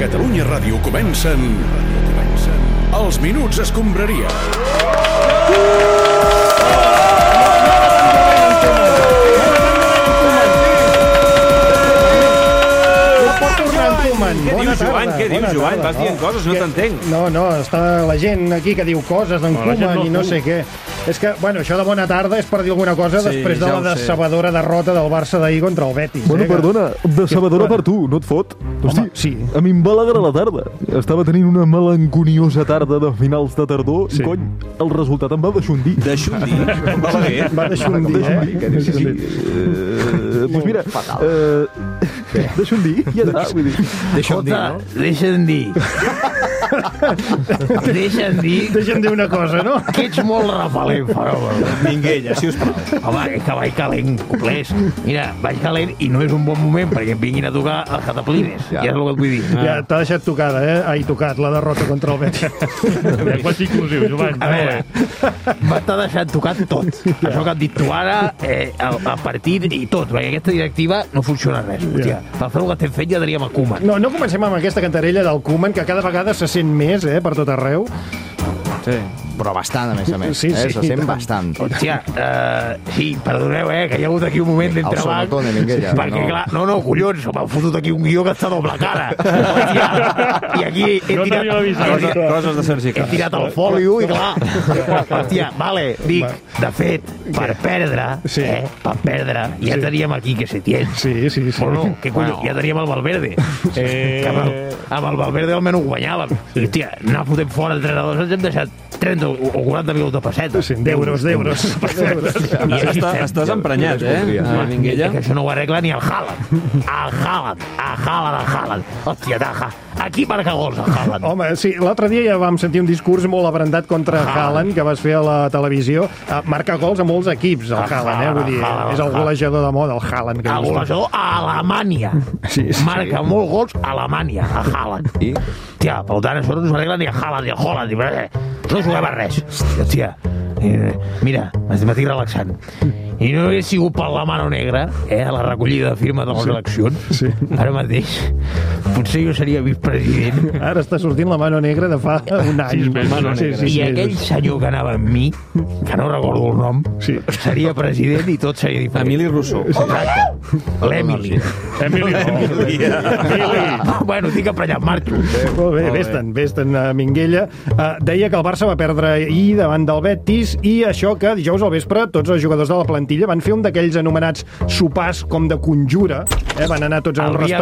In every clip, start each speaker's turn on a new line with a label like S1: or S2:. S1: Catalunya Ràdio comencen... comencen Els Minuts Escombraria.
S2: No pot tornar en Koeman.
S3: Què
S2: Bona
S3: dius,
S2: tarda,
S3: Joan? Què
S2: bona
S3: dius, Joan?
S2: tarda.
S3: Vas dient coses, no
S2: que-
S3: t'entenc.
S2: No, no, està la gent aquí que diu coses d'en
S4: la gent
S2: Koeman
S4: no
S2: i no sé què. És que, bueno, això de bona tarda és per dir alguna cosa
S4: Sí,
S2: després de
S4: ja
S2: la
S4: ho sé.
S2: decebedora derrota del Barça d'ahir contra el Betis.
S5: Bueno,
S2: eh, que-
S5: perdona, decebedora
S2: Bueno.
S5: per tu, no et fot? Hosti,
S2: sí.
S5: A mi em va alegrar la tarda. Estava tenint una melanconiosa tarda de finals de tardor
S2: Sí.
S5: i, cony, el resultat em va deixondir.
S3: De xundir. Balaguer.
S2: Va deixar un
S5: Deixa'm
S2: dia, eh?
S5: dir, sí, sí. Eh, doncs mira, eh, deixa'm dir, ja està. Vull dir.
S4: Deixa'm dir, no? Deixa'm dir. deixa'm dir
S2: Deixa'm dir una cosa, no?
S4: que ets molt repel·lent, fenomen.
S3: Minguella, sisplau.
S4: Home, és que vaig calent, complés. Mira, vaig calent i no és un bon moment perquè em vinguin a tocar els cataplines. Ja, és el que et vull dir.
S2: Ja t'ha deixat tocada, eh? Ai, tocat, la derrota contra el Betis.
S6: Quasi inclusiu, Joan.
S4: Ah. A veure, m'està deixant tocat tot. Això que han dit tu ara, eh, el, el partit i tot, perquè aquesta directiva no funciona res. Hòstia, per fer el que estem fent ja teníem el Koeman.
S2: No, no comencem amb aquesta cantarella del Koeman, que cada vegada se sent més, eh? Per tot arreu.
S7: Sí. Però bastant, a més a més.
S2: Sí,
S7: Sí, sí,
S2: sí,
S7: eh? Se
S2: i
S7: sent
S2: tant.
S7: bastant.
S4: Hòstia, eh, sí, perdoneu, eh, que hi ha hagut aquí un moment d'entrebanc.
S7: sonotone, Minguella,
S4: perquè,
S7: no.
S4: clar, no, no, collons, m'han fotut aquí un guió que està doble cara. Hòstia, I aquí he
S6: No
S4: tirat...
S6: t'havíem avisat.
S4: he
S3: Coses,
S4: tirat-
S3: coses de Sergi
S4: He
S3: Cas.
S4: tirat el fòlio i clar, hòstia, vale, dic, de fet, per perdre,
S2: Sí.
S4: eh, per perdre, ja teníem aquí que se tient.
S2: Sí, sí, sí.
S4: O no, que collons, ja teníem el Valverde. Eh... Amb, el, amb el Valverde almenys ho guanyàvem. Sí. Hòstia, anar fotent fora entrenadors, ens hem deixat 30 o 40 minuts de pessetes.
S2: Sí, d'euros, d'euros.
S4: I aquí
S3: Està,
S4: estem.
S3: estàs emprenyat, eh,
S4: Ja.
S3: Minguella?
S4: Que això no ho arregla ni el Haaland. El Haaland, el Haaland, el Haaland. Hòstia, taja. Aquí marca gols el Haaland.
S2: Home, sí, l'altre dia ja vam sentir un discurs molt abrandat contra
S4: Haaland.
S2: Haaland, que vas fer a la televisió. Eh, Marca gols a molts equips, el
S4: Ah,
S2: Haaland, eh? Vull dir,
S4: Haaland, Ah,
S2: és el golejador de moda, el Haaland. Que
S4: El golejador a Alemanya. Sí, sí, marca sí. molts gols a Alemanya, a Haaland. I? Hòstia, per tant, això no s'ho arregla ni a Haaland ni a Holland. Ni... res. No juguem a res. Hòstia, eh, mira, m'estic relaxant. I no hagués sigut per la mano negra, eh, a la recollida de firmes de les eleccions, sí. ara mateix, potser jo seria vicepresident
S2: Ara està sortint la mano negra de fa un any.
S6: mesos. Mano
S2: sí, sí,
S4: I
S2: sí,
S4: aquell senyor que anava amb mi, que no recordo el nom,
S2: Sí.
S4: seria president i tot seria diferent.
S3: Emili Rousseau.
S4: Exacte. L'Emili.
S6: Emili, no.
S4: Ah, bueno, estic emprenyat, marxo.
S2: Molt bé, vés-te'n, vés-te'n a Minguella. Uh, deia que el Barça va perdre ahir davant del Betis i això que dijous al vespre tots els jugadors de la plantilla van fer un d'aquells anomenats sopars com de conjura. Eh? Van anar tots a
S4: El
S2: un
S4: Via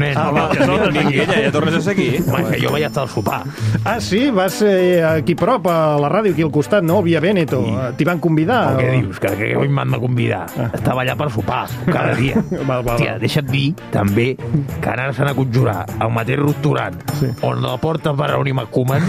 S2: restaurant.
S4: nen. Ah,
S2: va.
S3: No, Minguella, ja tornes a seguir.
S4: que jo vaig estar al sopar.
S2: Ah, sí? Va ser aquí prop, a la ràdio, aquí al costat, no? Via Veneto. I... T'hi van convidar?
S4: Ah,
S2: o-
S4: què dius? Que, que avui m'han de convidar. Estava allà per sopar, cada dia.
S2: Val, val,
S4: Hòstia,
S2: val.
S4: deixa't dir, també, que anar-se'n a conjurar al mateix restaurant sí. on la porta per reunir McComan,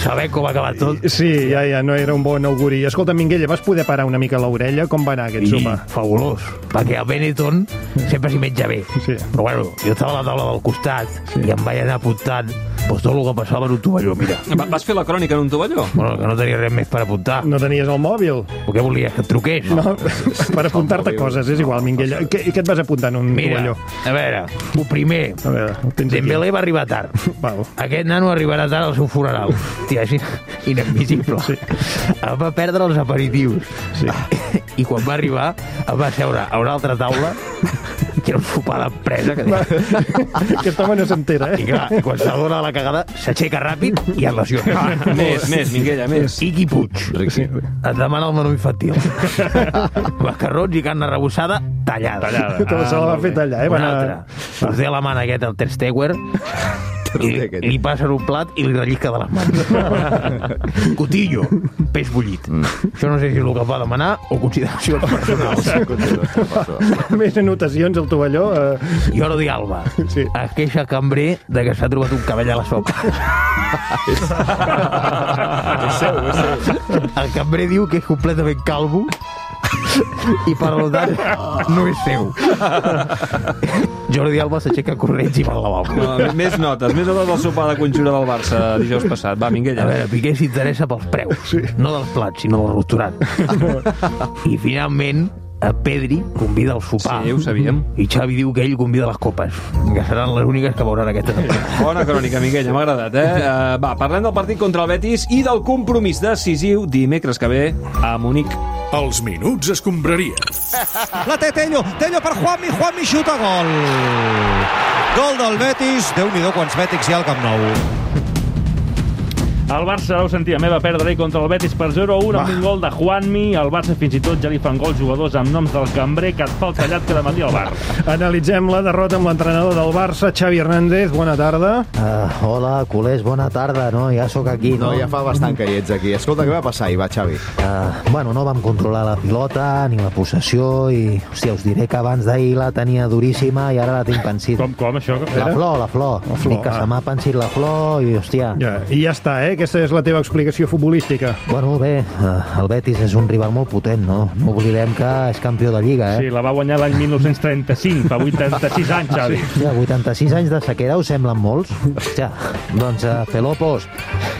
S4: saber com ha acabat tot,
S2: Sí, ja, ja, no era un bon auguri. Escolta, Minguella, vas poder parar una mica l'orella? Com va anar aquest
S4: I
S2: sopar?
S4: fabulós, perquè a Benetton sempre s'hi menja bé.
S2: Sí.
S4: Però bueno, jo estava a la taula del costat sí. i em vaig anar apuntant doncs, tot el que passava en un tovalló, mira.
S3: Va- Vas fer la crònica en un tovalló?
S4: Bueno, que no tenia res més per apuntar. No.
S2: No tenies el mòbil?
S4: Què volies, que et truqués?
S2: No, per apuntar-te coses, és igual, Minguella. Què, què et vas apuntar en un
S4: Mira,
S2: tovalló?
S4: a veure, el primer,
S2: A veure, el tens aquí.
S4: Dembélé va arribar tard.
S2: Val.
S4: Aquest nano arribarà tard al seu funeral. Hòstia, és in- inadmissible. Sí. Em va perdre els aperitius. Sí. I quan va arribar, em va seure a una altra taula, que era un sopar d'empresa, que deia...
S2: Aquest home no s'entera,
S4: I
S2: eh?
S4: clar, quan s'adona de la cagada, s'aixeca ràpid i es lesiona.
S3: Més, més, Minguella, més.
S4: Iqui Puig.
S7: Sí.
S4: Et demana el menú infantil. Macarrons i carn arrebossada tallada. Ah.
S2: Que se la va fer tallar, eh?
S4: Un
S2: Va anar-
S4: altre. Us té la mà aquest, el Ter Stegen, i li, li passen un plat i li rellisca de les mans. Cotillo, peix bullit. Mm. Això no sé si és el que va demanar o consideració personal.
S2: Més anotacions al tovalló. Eh...
S4: Jordi Alba,
S2: Sí.
S4: sí. es queixa cambrer de que s'ha trobat un cabell a la sopa. és seu, és seu. El cambrer diu que és completament calvo i per tant no és seu. Jordi Alba s'aixeca corrents i va al lavabo.
S3: No, més notes, més notes del sopar de conjura del Barça dijous passat. Va,
S4: A
S3: Minguella.
S4: veure, Piqué s'interessa pels preus, sí. no dels plats, sinó del restaurant. I finalment, eh, Pedri convida al sopar.
S3: Sí, ho sabíem.
S4: I Xavi diu que ell convida les copes, que seran les úniques que veuran aquesta temporada.
S3: Bona crònica, Miquella, m'ha agradat, eh? Uh, va, parlem del partit contra el Betis i del compromís decisiu dimecres que ve a Munic.
S8: Els minuts escombraria.
S9: La té Tello, Tello per Juanmi, Juanmi xuta gol. Gol del Betis, Déu-n'hi-do quants bètics hi ha al Camp Nou.
S6: El Barça, ara ho sentia, me va perdre ahir contra el Betis per 0-1 amb un gol de Juanmi. Al Barça fins i tot ja li fan gols jugadors amb noms del cambrer que et fa el tallat cada matí al bar.
S2: Analitzem la derrota amb l'entrenador del Barça, Xavi Hernández. Bona tarda.
S10: Uh, hola, culers, bona tarda, no? Ja sóc aquí,
S7: No,
S10: no?
S7: ja fa bastant que hi ets aquí. Escolta, què va passar ahir, va, Xavi?
S10: Uh, bueno, no vam controlar la pilota ni la possessió i, hòstia, us diré que abans d'ahir la tenia duríssima i ara la tinc pansida.
S6: Com, com, això?
S10: La flor, la flor. La
S2: flor,
S10: flor Dic que
S2: ah.
S10: se m'ha pensit la flor i, hòstia...
S2: Ja, I ja està, eh? Aquesta és la teva explicació futbolística.
S10: Bueno, bé, eh, el Betis és un rival molt potent, no? No oblidem que és campió de Lliga, eh?
S6: Sí, la va guanyar l'any 1935, fa 86 anys, Xavi.
S10: Hòstia, 86 anys de sequera us semblen molts? Hòstia, doncs, uh, Pelopos,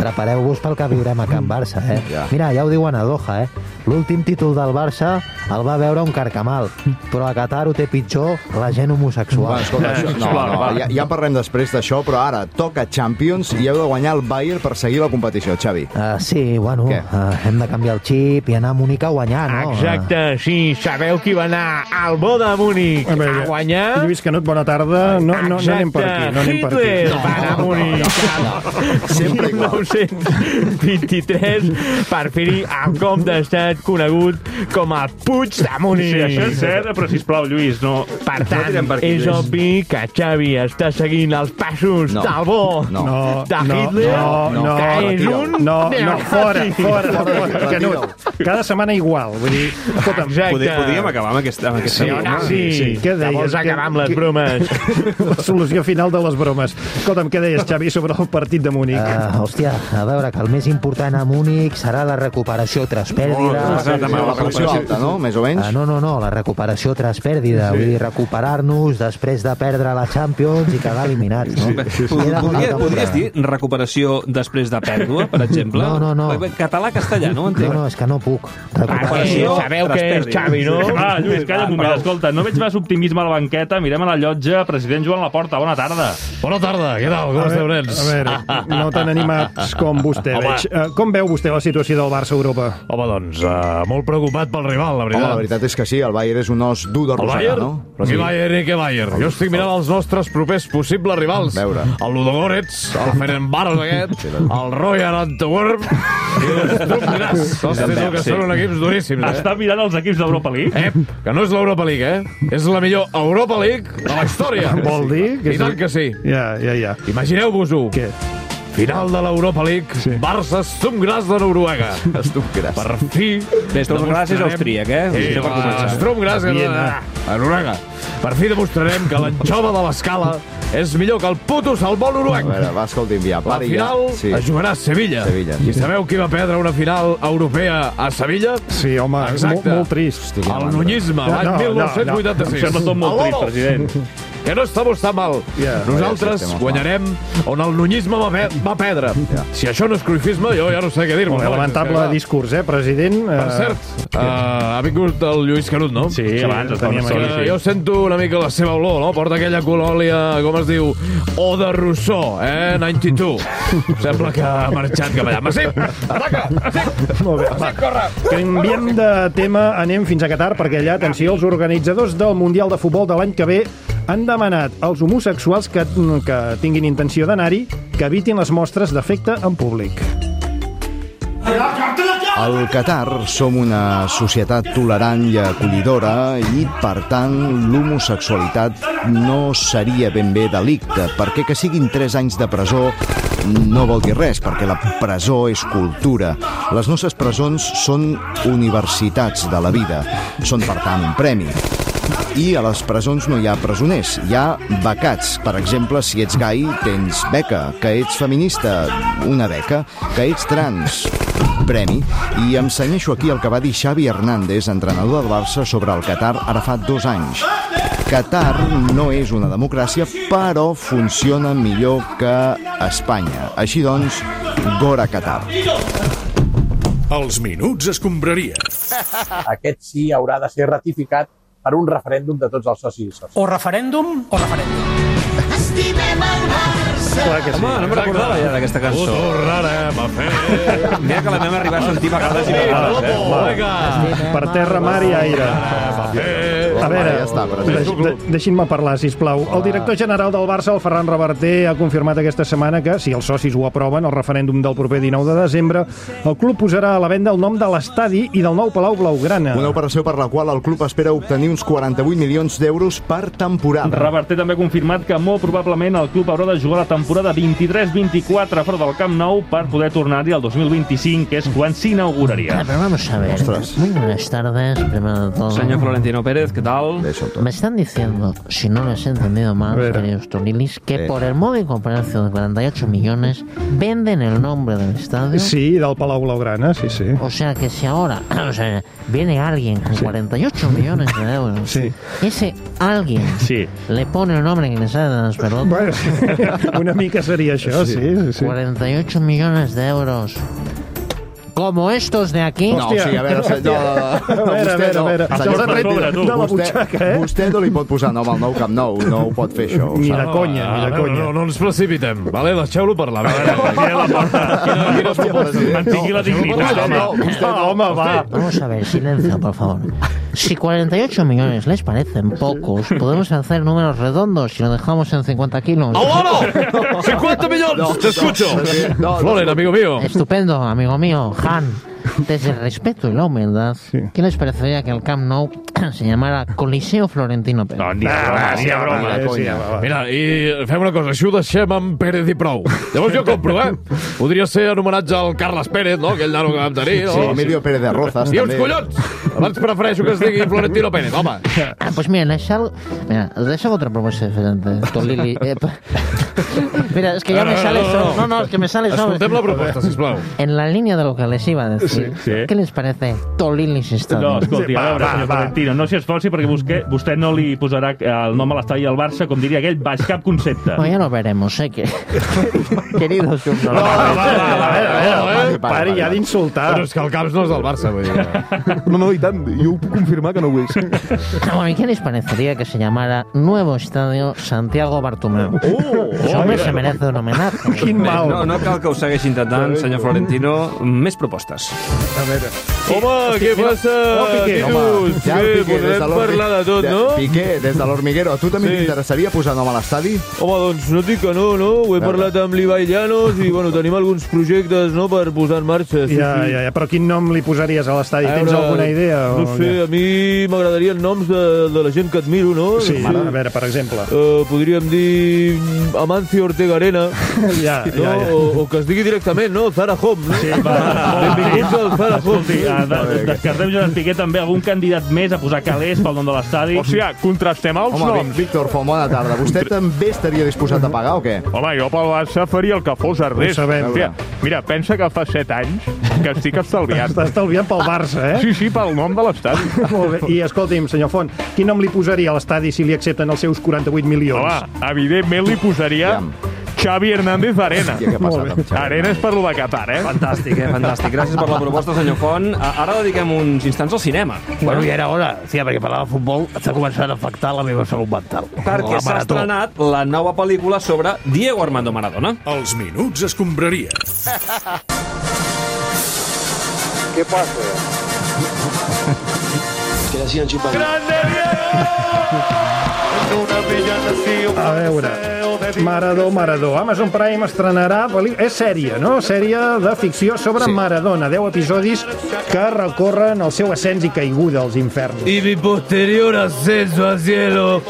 S10: prepareu-vos pel que viurem a Can Barça, eh?
S7: Ja.
S10: Mira, ja ho diuen a Doha, eh? L'últim títol del Barça el va veure un carcamal, però a Qatar ho té pitjor la gent
S7: Va,
S10: homosexual.
S7: escolta, això, no, no, ja, ja parlem després d'això, però ara toca Champions i heu de guanyar el Bayern per seguir la competició, Xavi.
S10: Uh, sí, bueno,
S7: Què?
S10: uh, hem de canviar el xip i anar a Múnich a guanyar, no?
S11: Exacte, sí, sabeu qui va anar al bo de Múnich
S2: A
S11: a,
S2: veure,
S11: guanyar?
S2: Lluís Canut, bona tarda. No, no, no anem per aquí. No anem per aquí.
S11: Hitler va anar a Múnich
S7: Sempre
S11: el 1923 per fer-hi el cop d'estat conegut com a Puig de Múnich.
S6: Sí, això és cert, però sisplau, Lluís, no...
S11: Per tant,
S3: tirem per aquí,
S11: és
S3: Lluís.
S11: obvi que Xavi està seguint els passos
S7: No.
S11: del bo
S7: No.
S11: de
S2: no,
S11: Hitler,
S2: no, no,
S11: que és
S7: retira'l.
S11: un...
S2: No, no,
S11: neonazi.
S2: fora, fora, fora,
S7: Retira'l.
S2: Canut. Cada setmana igual, vull dir... Escolta'm,
S11: Exacte.
S3: Poder, podríem acabar amb aquesta... Amb aquesta
S11: Sí,
S3: broma?
S11: sí,
S2: sí,
S11: sí.
S2: què
S11: Que
S2: deies?
S11: vols acabar amb les
S2: Què-
S11: bromes.
S2: la solució final de les bromes. Escolta'm, què deies, Xavi, sobre el partit de Múnich?
S10: Uh, hòstia, a veure, que el més important a Múnich serà la recuperació tras pèrdues.
S3: Ah, sí, sí,
S7: La pressió alta, no? Més o
S10: Ah,
S7: menys.
S10: no, no, no, la recuperació tras pèrdida, sí. vull dir, recuperar-nos després de perdre la Champions i quedar eliminats, no? Sí, sí,
S3: Podria, podries dir recuperació després de pèrdua, per exemple?
S10: No, no, no.
S3: Català-castellà, no ho
S10: No,
S3: entenc.
S10: no, és que no puc.
S12: Ah,
S10: Recuperar...
S3: Perquè
S11: sabeu que és Xavi, no?
S6: Va, Ah, Lluís, calla un moment. Escolta, no veig més optimisme a la banqueta. Mirem a la llotja. President Joan Laporta, bona tarda.
S13: Bona tarda, què tal? Com
S2: A
S13: esteu,
S2: veure,
S13: nens?
S2: a veure, no tan animats com vostè,
S13: Home.
S2: veig. Eh, com veu vostè la situació del Barça a Europa?
S13: Home, doncs, uh, molt preocupat pel rival, la
S7: Home,
S13: veritat.
S7: la veritat és que sí, el Bayern és un os dur de
S13: El
S7: rosegar,
S13: Bayern?
S7: no?
S13: Però sí. Bayern i què Bayern? Jo estic mirant els nostres propers possibles rivals.
S7: A veure.
S13: El Ludogorets, el Ferencváros aquest, el Royal Antwerp i l'Stubb Graz. Hòstia, tu, que són equips duríssims, eh?
S6: Està mirant els equips d'Europa League?
S13: Ep, que no és l'Europa League, eh? És la millor Europa League de la història.
S2: Vol dir que
S13: I tant
S2: sí?
S13: que sí.
S2: Ja, ja, ja.
S13: Imagineu-vos-ho.
S2: Què?
S13: Final de l'Europa League, sí. Barça-Stubb Graz de Noruega.
S7: Estupgràs.
S13: Per fi...
S3: Bé, Sturm Graz és austríac, eh?
S13: Sí,
S3: Això per
S13: la
S3: començar.
S13: Sturm Graz és
S2: Viena.
S13: a Noruega. Per fi demostrarem que l'anxova de l'escala és millor que el puto salvó
S7: A
S13: noruec.
S7: veure, va, escolti'm, ja,
S13: La
S7: pari ja.
S13: final
S7: Sí.
S13: es jugarà a Sevilla.
S7: Sevilla.
S13: I sabeu qui va perdre una final europea a Sevilla?
S2: Sí, home, és molt,
S13: Ah, Exacte.
S2: molt trist.
S13: El nunyisme, l'any
S2: No, no, no.
S6: Em
S13: 1986.
S6: sembla tot molt
S13: Aló!
S6: trist, president.
S13: Que no estamos tan mal.
S2: Ja.
S13: Nosaltres
S7: Ja, sí, estem
S13: guanyarem on el nunyisme va, pe va perdre.
S7: Ja.
S13: Si això no és cruifisme, jo ja no sé què dir-vos.
S2: Molt bé,
S13: Àlex, és
S2: lamentable
S13: que, clar,
S2: discurs, eh, president? Eh,
S13: Per cert, uh, ha vingut el Lluís Canut, no?
S6: Sí, abans, estava
S2: teníem
S6: amb
S2: aquí.
S6: Sony,
S13: Eh,
S6: sí.
S13: jo sento una mica la seva olor, no? Porta aquella colòlia, com es diu, o de Rousseau, eh? 92. Sembla que ha marxat cap allà. Massip! Ataca! Massip!
S2: Molt bé, va. Canviem de tema, anem fins a Qatar, perquè allà, atenció, els organitzadors del Mundial de Futbol de l'any que ve han demanat als homosexuals que, que tinguin intenció d'anar-hi que evitin les mostres d'afecte en públic.
S7: Al Qatar som una societat tolerant i acollidora i, per tant, l'homosexualitat no seria ben bé delicte, perquè que siguin 3 anys de presó no vol dir res, perquè la presó és cultura. Les nostres presons són universitats de la vida, són, per tant, un premi. I a les presons no hi ha presoners, hi ha becats. Per exemple, si ets gai, tens beca. Que ets feminista, una beca. Que ets trans, premi. I em cenyeixo aquí el que va dir Xavi Hernández, entrenador del Barça, sobre el Qatar ara fa dos anys. Qatar no és una democràcia, però funciona millor que Espanya. Així doncs, gora Qatar.
S1: Els minuts es compraria.
S14: Aquest sí haurà de ser ratificat per un referèndum de tots els socis i socis.
S15: O referèndum o referèndum. Estimem el Barça.
S3: Clar que sí. Home, no me recordava ja d'aquesta cançó.
S13: tornarem a fer.
S3: Mira que la vam arribar a sentir vegades i vegades, eh?
S2: Per terra, mar i aire. A veure,
S7: ja està, per
S2: deix- de- deixin-me parlar, si plau. El director general del Barça, el Ferran Reverter, ha confirmat aquesta setmana que, si els socis ho aproven, el referèndum del proper 19 de desembre, el club posarà a la venda el nom de l'estadi i del nou Palau Blaugrana.
S7: Una operació per la qual el club espera obtenir uns 48 milions d'euros per temporada.
S6: Reverter també ha confirmat que molt probablement el club haurà de jugar la temporada 23-24 fora del Camp Nou per poder tornar-hi el 2025, que és quan s'inauguraria.
S2: Ah,
S12: Pero vamos a ver. Muy buenas tardes, primero de todo.
S6: Señor
S3: Florentino Pérez, ¿qué tal?
S12: Me están diciendo, si no les he entendido mal, queridos Tolilis, que por el móvil comercio de 48 millones venden el nombre del estadio.
S2: Sí, del Palau Blaugrana, sí, sí.
S12: O sea que si ahora o sea, viene alguien con 48 millones de euros, ese alguien le pone el nombre que le sale de las pelotas.
S2: una mica seria això, sí. sí, sí.
S12: 48 millones de euros. Como estos de aquí.
S7: No, Hòstia. sí, a veure, senyor, no, no, vostè no. Senyor Ferretti, vostè- vostè no li pot posar nom al nou Camp Nou, no ho pot fer, això, ho sap.
S13: Ah, no, No, no, no ens precipitem, vale? Deixeu-lo parlar. A veure, quina, quina proposta. Mantingui la dignitat, home.
S12: Vamos a ver, silencio, por favor. Si 48 millones les parecen pocos, podemos hacer números redondos si lo dejamos en 50 kilos.
S13: ¡Ahora! ¡50 millones!
S12: No,
S13: ¡Te escucho!
S12: no, sí, no, no.
S13: Floren, amigo mío.
S12: Estupendo, amigo mío, Han. Desde el respeto y la humildad, ¿qué les parecería que el Camp Nou se llamara Coliseo Florentino Pérez?
S13: Ni
S4: Ah,
S13: de broma,
S16: Ah,
S13: ni de broma.
S12: Eh, sí,
S13: conya. Mira, i fem una cosa, així ho deixem amb Pérez i prou. Llavors jo compro, eh? Podria ser en homenatge al Carles Pérez, no? Aquell nano que vam tenir. No?
S7: Sí, Emilio Pérez de Rozas,
S13: I uns
S7: també.
S13: collons! Abans prefereixo que es digui Florentino Pérez, home.
S12: Ah, pues mira, les hago, mira, les hago otra propuesta diferente. Tolili. eh, pa- mira, es que ya
S13: No,
S12: me
S13: no,
S12: sale
S13: no,
S12: solo.
S13: no.
S12: No, no, es que me sale solo.
S13: Escoltem la proposta, sisplau.
S12: En la línea de lo que les iba a decir,
S6: Sí, sí.
S12: ¿qué les parece Tolilis Stadium?
S6: No, escolti, a veure, senyor Valentino, no s'hi esforci perquè vostè, vostè no li posarà el nom a l'estadi del Barça, com diria aquell, baix cap concepte.
S12: No, ya lo veremos, ¿eh? Que... Queridos
S2: Pare ja d'insultar.
S13: Però és que el Camps no és del Barça, vull dir.
S5: No, no, i tant, jo ho puc confirmar que no ho és.
S12: No, ¿y qué les parecería que se llamara Nuevo Estadio Santiago Bartomeu?
S2: Oh,
S12: Ese hombre se merece un homenaje.
S3: Bé, No, no cal que ho segueixi intentant, senyor Florentino. Més propostes.
S2: A veure.
S13: Home, què passa,
S7: Home,
S13: tios?
S7: ja el
S13: Bé,
S7: Piqué, des de
S13: podrem
S7: l'Hormi-
S13: parlar de tot,
S7: de-
S13: no?
S7: Piqué, des de l'Hormiguero, a tu també
S13: Sí.
S7: t'interessaria posar nom a l'estadi?
S13: Home, doncs no et dic que no, no? Ho he
S7: Veure.
S13: parlat amb l'Ibai Llanos i, bueno, tenim alguns projectes, no?, per posar en marxa. Sí,
S2: Ja,
S13: sí.
S2: ja, ja, però quin nom li posaries a l'estadi?
S13: A
S2: Tens
S13: veure,
S2: alguna idea? o
S13: No sé, a mi m'agradarien noms de, de la gent que admiro, no?
S2: Sí,
S13: no sé.
S2: a veure, per exemple.
S13: Eh, podríem dir mm, Amancio Ortega Arena.
S2: Ja,
S13: no?
S2: ja, ja.
S13: O, o que es digui directament, no? Zara Home, no? Sí, va, Benvinguts al Zara Home.
S6: Escolti, eh, de, de, descartem Joan Piqué també algun candidat més a posar calés pel nom de l'estadi.
S7: O sigui,
S6: contrastem
S7: Home, Vic- Víctor Font, bona tarda. Vostè també estaria disposat a pagar o què?
S13: Oh.
S16: Home, jo pel Barça faria el que fos a res.
S7: sabem.
S16: Mira, mira, pensa que fa 7 anys que estic estalviant.
S2: Està estalviant pel Barça, eh?
S16: Sí, sí, pel nom de l'estadi.
S2: Molt bé. I escolti'm, senyor Font, quin nom li posaria a l'estadi si li accepten els seus 48 milions?
S16: Home, evidentment li posaria Xavi Hernández Arena.
S2: Hòstia, què ha passat amb Xavi
S16: Arena és per lo de Qatar, eh?
S3: Fantàstic, eh? Fantàstic. Gràcies per la proposta, senyor Font. A- Ara dediquem uns instants al cinema.
S4: Bueno, ja era hora, tia, perquè parlar de futbol s'ha començat a afectar la meva salut mental.
S3: Perquè
S4: La
S3: s'ha
S4: marató.
S3: estrenat la nova pel·lícula sobre Diego Armando Maradona.
S1: Els minuts es compraria.
S17: ¿Qué pasa? Que la sigan chupando.
S16: ¡Grande
S2: A veure, Maradó, Maradó. Amazon Prime estrenarà... pel·li- És sèrie, no? Sèrie de ficció sobre Maradona. 10 episodis que recorren el seu ascens i caiguda als inferns.
S13: Y mi posterior ascenso al cielo.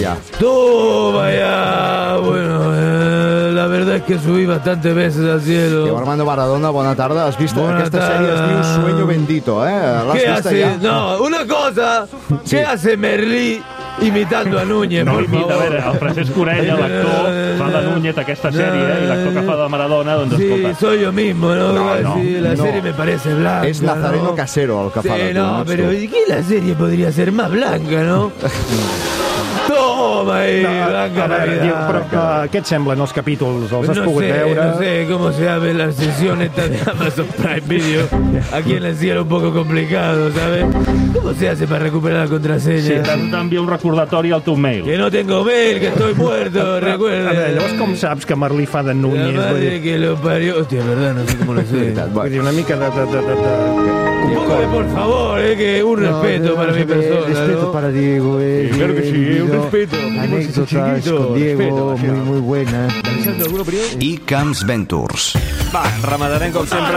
S7: Ya.
S13: Toma ya. Bueno, eh, la verdad es que subí bastantes veces al
S7: Diu
S13: cielo.
S7: Armando Maradona, bona tarda. Has vist
S13: Bona
S7: aquesta
S13: tarda.
S7: sèrie? Es diu Sueño Bendito, eh? L'has
S13: ¿Qué
S7: vista
S13: hace?
S7: ja?
S13: No, una cosa. ¿Qué hace Merlí imitando a Núñez?
S6: No
S13: por
S6: limita, a
S13: favor?
S6: veure, el Francesc Corella, l'actor, fa de Núñez aquesta sèrie, eh, i l'actor que fa de Maradona, doncs
S13: Sí,
S6: escolta...
S13: soy yo mismo, ¿no?
S6: No, no,
S13: Sí, la
S6: no.
S13: serie me parece blanca.
S7: És Nazareno
S13: ¿no?
S7: Casero, el que fa
S13: Sí,
S7: de tu,
S13: no,
S7: ets
S13: pero
S7: tu.
S13: ¿y qué la serie podría ser más blanca, no? Toma eh, y blanca
S2: a veure, diu,
S13: Navidad.
S2: però uh, què et semblen els capítols? Els has
S13: no
S2: pogut
S13: sé,
S2: veure?
S13: No sé cómo se abre la sesión esta de Amazon Prime Video. Aquí en la silla era un poco complicado, ¿sabes? ¿Cómo se hace para recuperar la
S6: Sí,
S13: contraseña?
S6: t'han d'enviar un recordatori al teu mail.
S13: Que no tengo mail, que estoy muerto, recuerda.
S2: A veure, llavors com saps que Merlí fa de Núñez?
S13: La
S2: Vull
S13: madre
S2: dir,
S13: que lo parió. Hostia, es verdad, no sé cómo lo sé.
S2: vull dir, una mica de... de, de, de, de...
S13: Un poco de por favor, eh, que un
S2: No,
S13: respeto
S2: no,
S13: para mi
S2: no,
S13: persona.
S2: respeto
S13: ¿no?
S10: para Diego, eh,
S13: Sí, claro que sí,
S10: he
S13: un
S10: vivido
S13: respeto, como es
S10: Anécdotas
S13: chiquito,
S10: con
S13: respeto,
S10: Diego,
S13: vaya.
S10: muy, muy buenas.
S7: I Camps Ventures.
S3: Va, remadarem com sempre...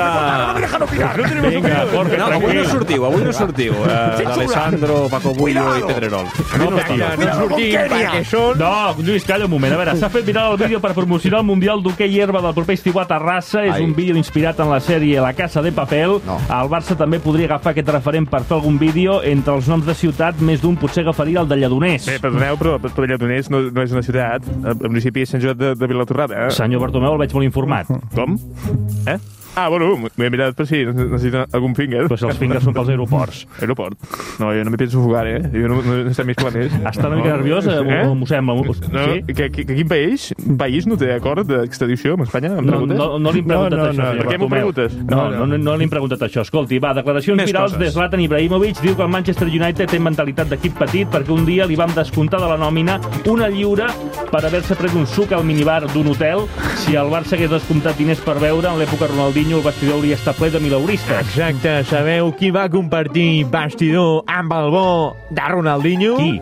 S6: Vinga, Jorge,
S3: No, avui no
S6: tranquil.
S3: sortiu, avui no sortiu. Eh, D'Alessandro, Paco Bullo i Pedrerol.
S6: No, Pere, no surti, perquè són- No, Lluís, calla un moment. A veure, s'ha fet viral el vídeo per promocionar el Mundial d'hoquei herba del proper estiu a Terrassa. És
S3: Ai.
S6: un vídeo inspirat en la sèrie La Casa de Papel. El Barça també podria agafar aquest referent per fer algun vídeo. Entre els noms de ciutat, més d'un potser agafaria el de Lledoners.
S16: Bé, perdoneu, però Pelladoners no, no és una ciutat. El el municipi és Sant Joan de, de Vilatorrada. Eh?
S6: Senyor Bartomeu, el veig molt informat.
S16: Com? Eh? Ah, bueno, m'ho he mirat per si necessita algun finger. Però
S6: si els fingers són pels aeroports.
S16: Aeroport? No, jo no m'hi penso fugar, eh? Jo no, no, no sé més quan és.
S6: Està una mica
S16: No.
S6: nerviós, eh? M'ho- m'ho sembla. M'ho-
S16: No,
S6: sí?
S16: que, que, que quin país, país no té acord d'extradició amb Espanya? Em
S6: No,
S16: preguntes?
S6: no, no li hem preguntat
S16: no, no,
S6: això.
S16: No,
S6: senyor
S16: per què m'ho
S6: Bartomeu.
S16: preguntes?
S6: No, no, no, no li hem preguntat això. Escolti, va, declaracions
S16: Més
S6: virals
S16: coses.
S6: de Zlatan Ibrahimovic. Diu que el Manchester United té mentalitat d'equip petit perquè un dia li vam descomptar de la nòmina una lliure per haver-se pres un suc al minibar d'un hotel. Si el Barça hagués descomptat diners per veure, en l'època Ronaldinho el vestidor hauria estat ple de milauristes.
S18: Exacte, sabeu qui va compartir bastidor amb el bo de Ronaldinho? Qui?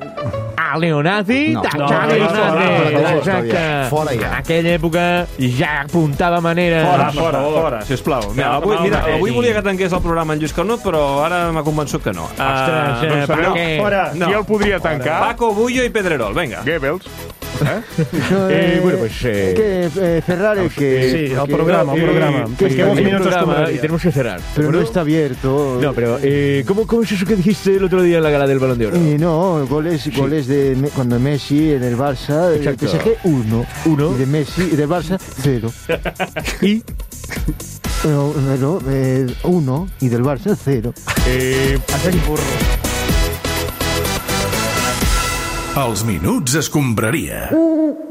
S18: A Leonazi,
S10: No.
S18: de
S10: No,
S18: Xavi
S10: no, no, no,
S18: Hernández.
S10: no, no, no, no,
S18: Exacte.
S10: fora ja.
S18: En aquella època ja apuntava manera.
S3: Fora, fora, fora, sisplau. Mira, avui, mira, avui
S18: Sí.
S3: volia que tanqués el programa en Lluís Carnot, però ara m'ha convençut que no.
S18: Ostres, eh,
S3: doncs sabeu-
S18: per què? Fora.
S16: Qui el podria tancar?
S3: Paco Bullo i Pedrerol, vinga.
S16: Goebbels. Eh?
S10: Eh, bueno, pues,
S16: eh,
S10: Que eh, Ferrari, que...
S16: Sí,
S10: que-
S16: el programa, el
S10: que-
S16: programa.
S10: que-
S18: pues
S16: Es que
S10: que-
S16: hemos
S10: que-
S16: venido
S10: que-
S16: programa,
S10: programa,
S16: y tenemos
S18: que cerrar.
S10: Pero no está abierto.
S18: No, pero eh, ¿cómo, ¿cómo es eso que dijiste el otro día en la gala del Balón de Oro?
S10: Eh, no, goles, goles de Me- cuando Messi en el Barça, el
S18: Exacto.
S10: PSG 1, 1 de Messi y del Barça 0.
S18: ¿Y?
S10: No, no, 1 y del Barça 0.
S16: Eh,
S1: Els minuts escombraria.
S10: Uh.